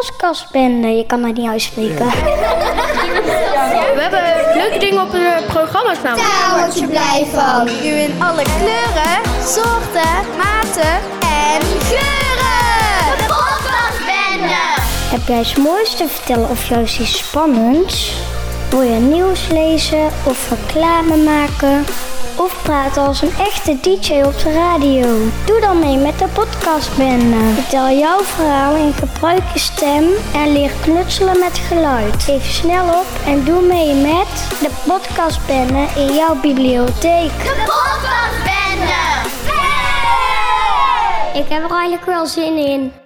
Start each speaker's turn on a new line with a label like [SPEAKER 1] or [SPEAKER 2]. [SPEAKER 1] podcast ben. Eh, Je kan mij niet uitspreken.
[SPEAKER 2] We hebben leuke dingen op de programma's namelijk.
[SPEAKER 3] Daar word Nou, je blij van. Nu in alle kleuren, soorten, maten en geuren. De podcastbende.
[SPEAKER 1] Heb jij iets moois te vertellen of juist iets spannends? Wil je nieuws lezen of reclame maken? Of praat als een echte DJ op de radio? Doe dan mee met de podcastbende. Vertel jouw verhaal en gebruik je stem en leer knutselen met geluid. Geef snel op en doe mee met de podcastbende in jouw bibliotheek.
[SPEAKER 3] De podcastbende.
[SPEAKER 1] Ik heb er eigenlijk wel zin in.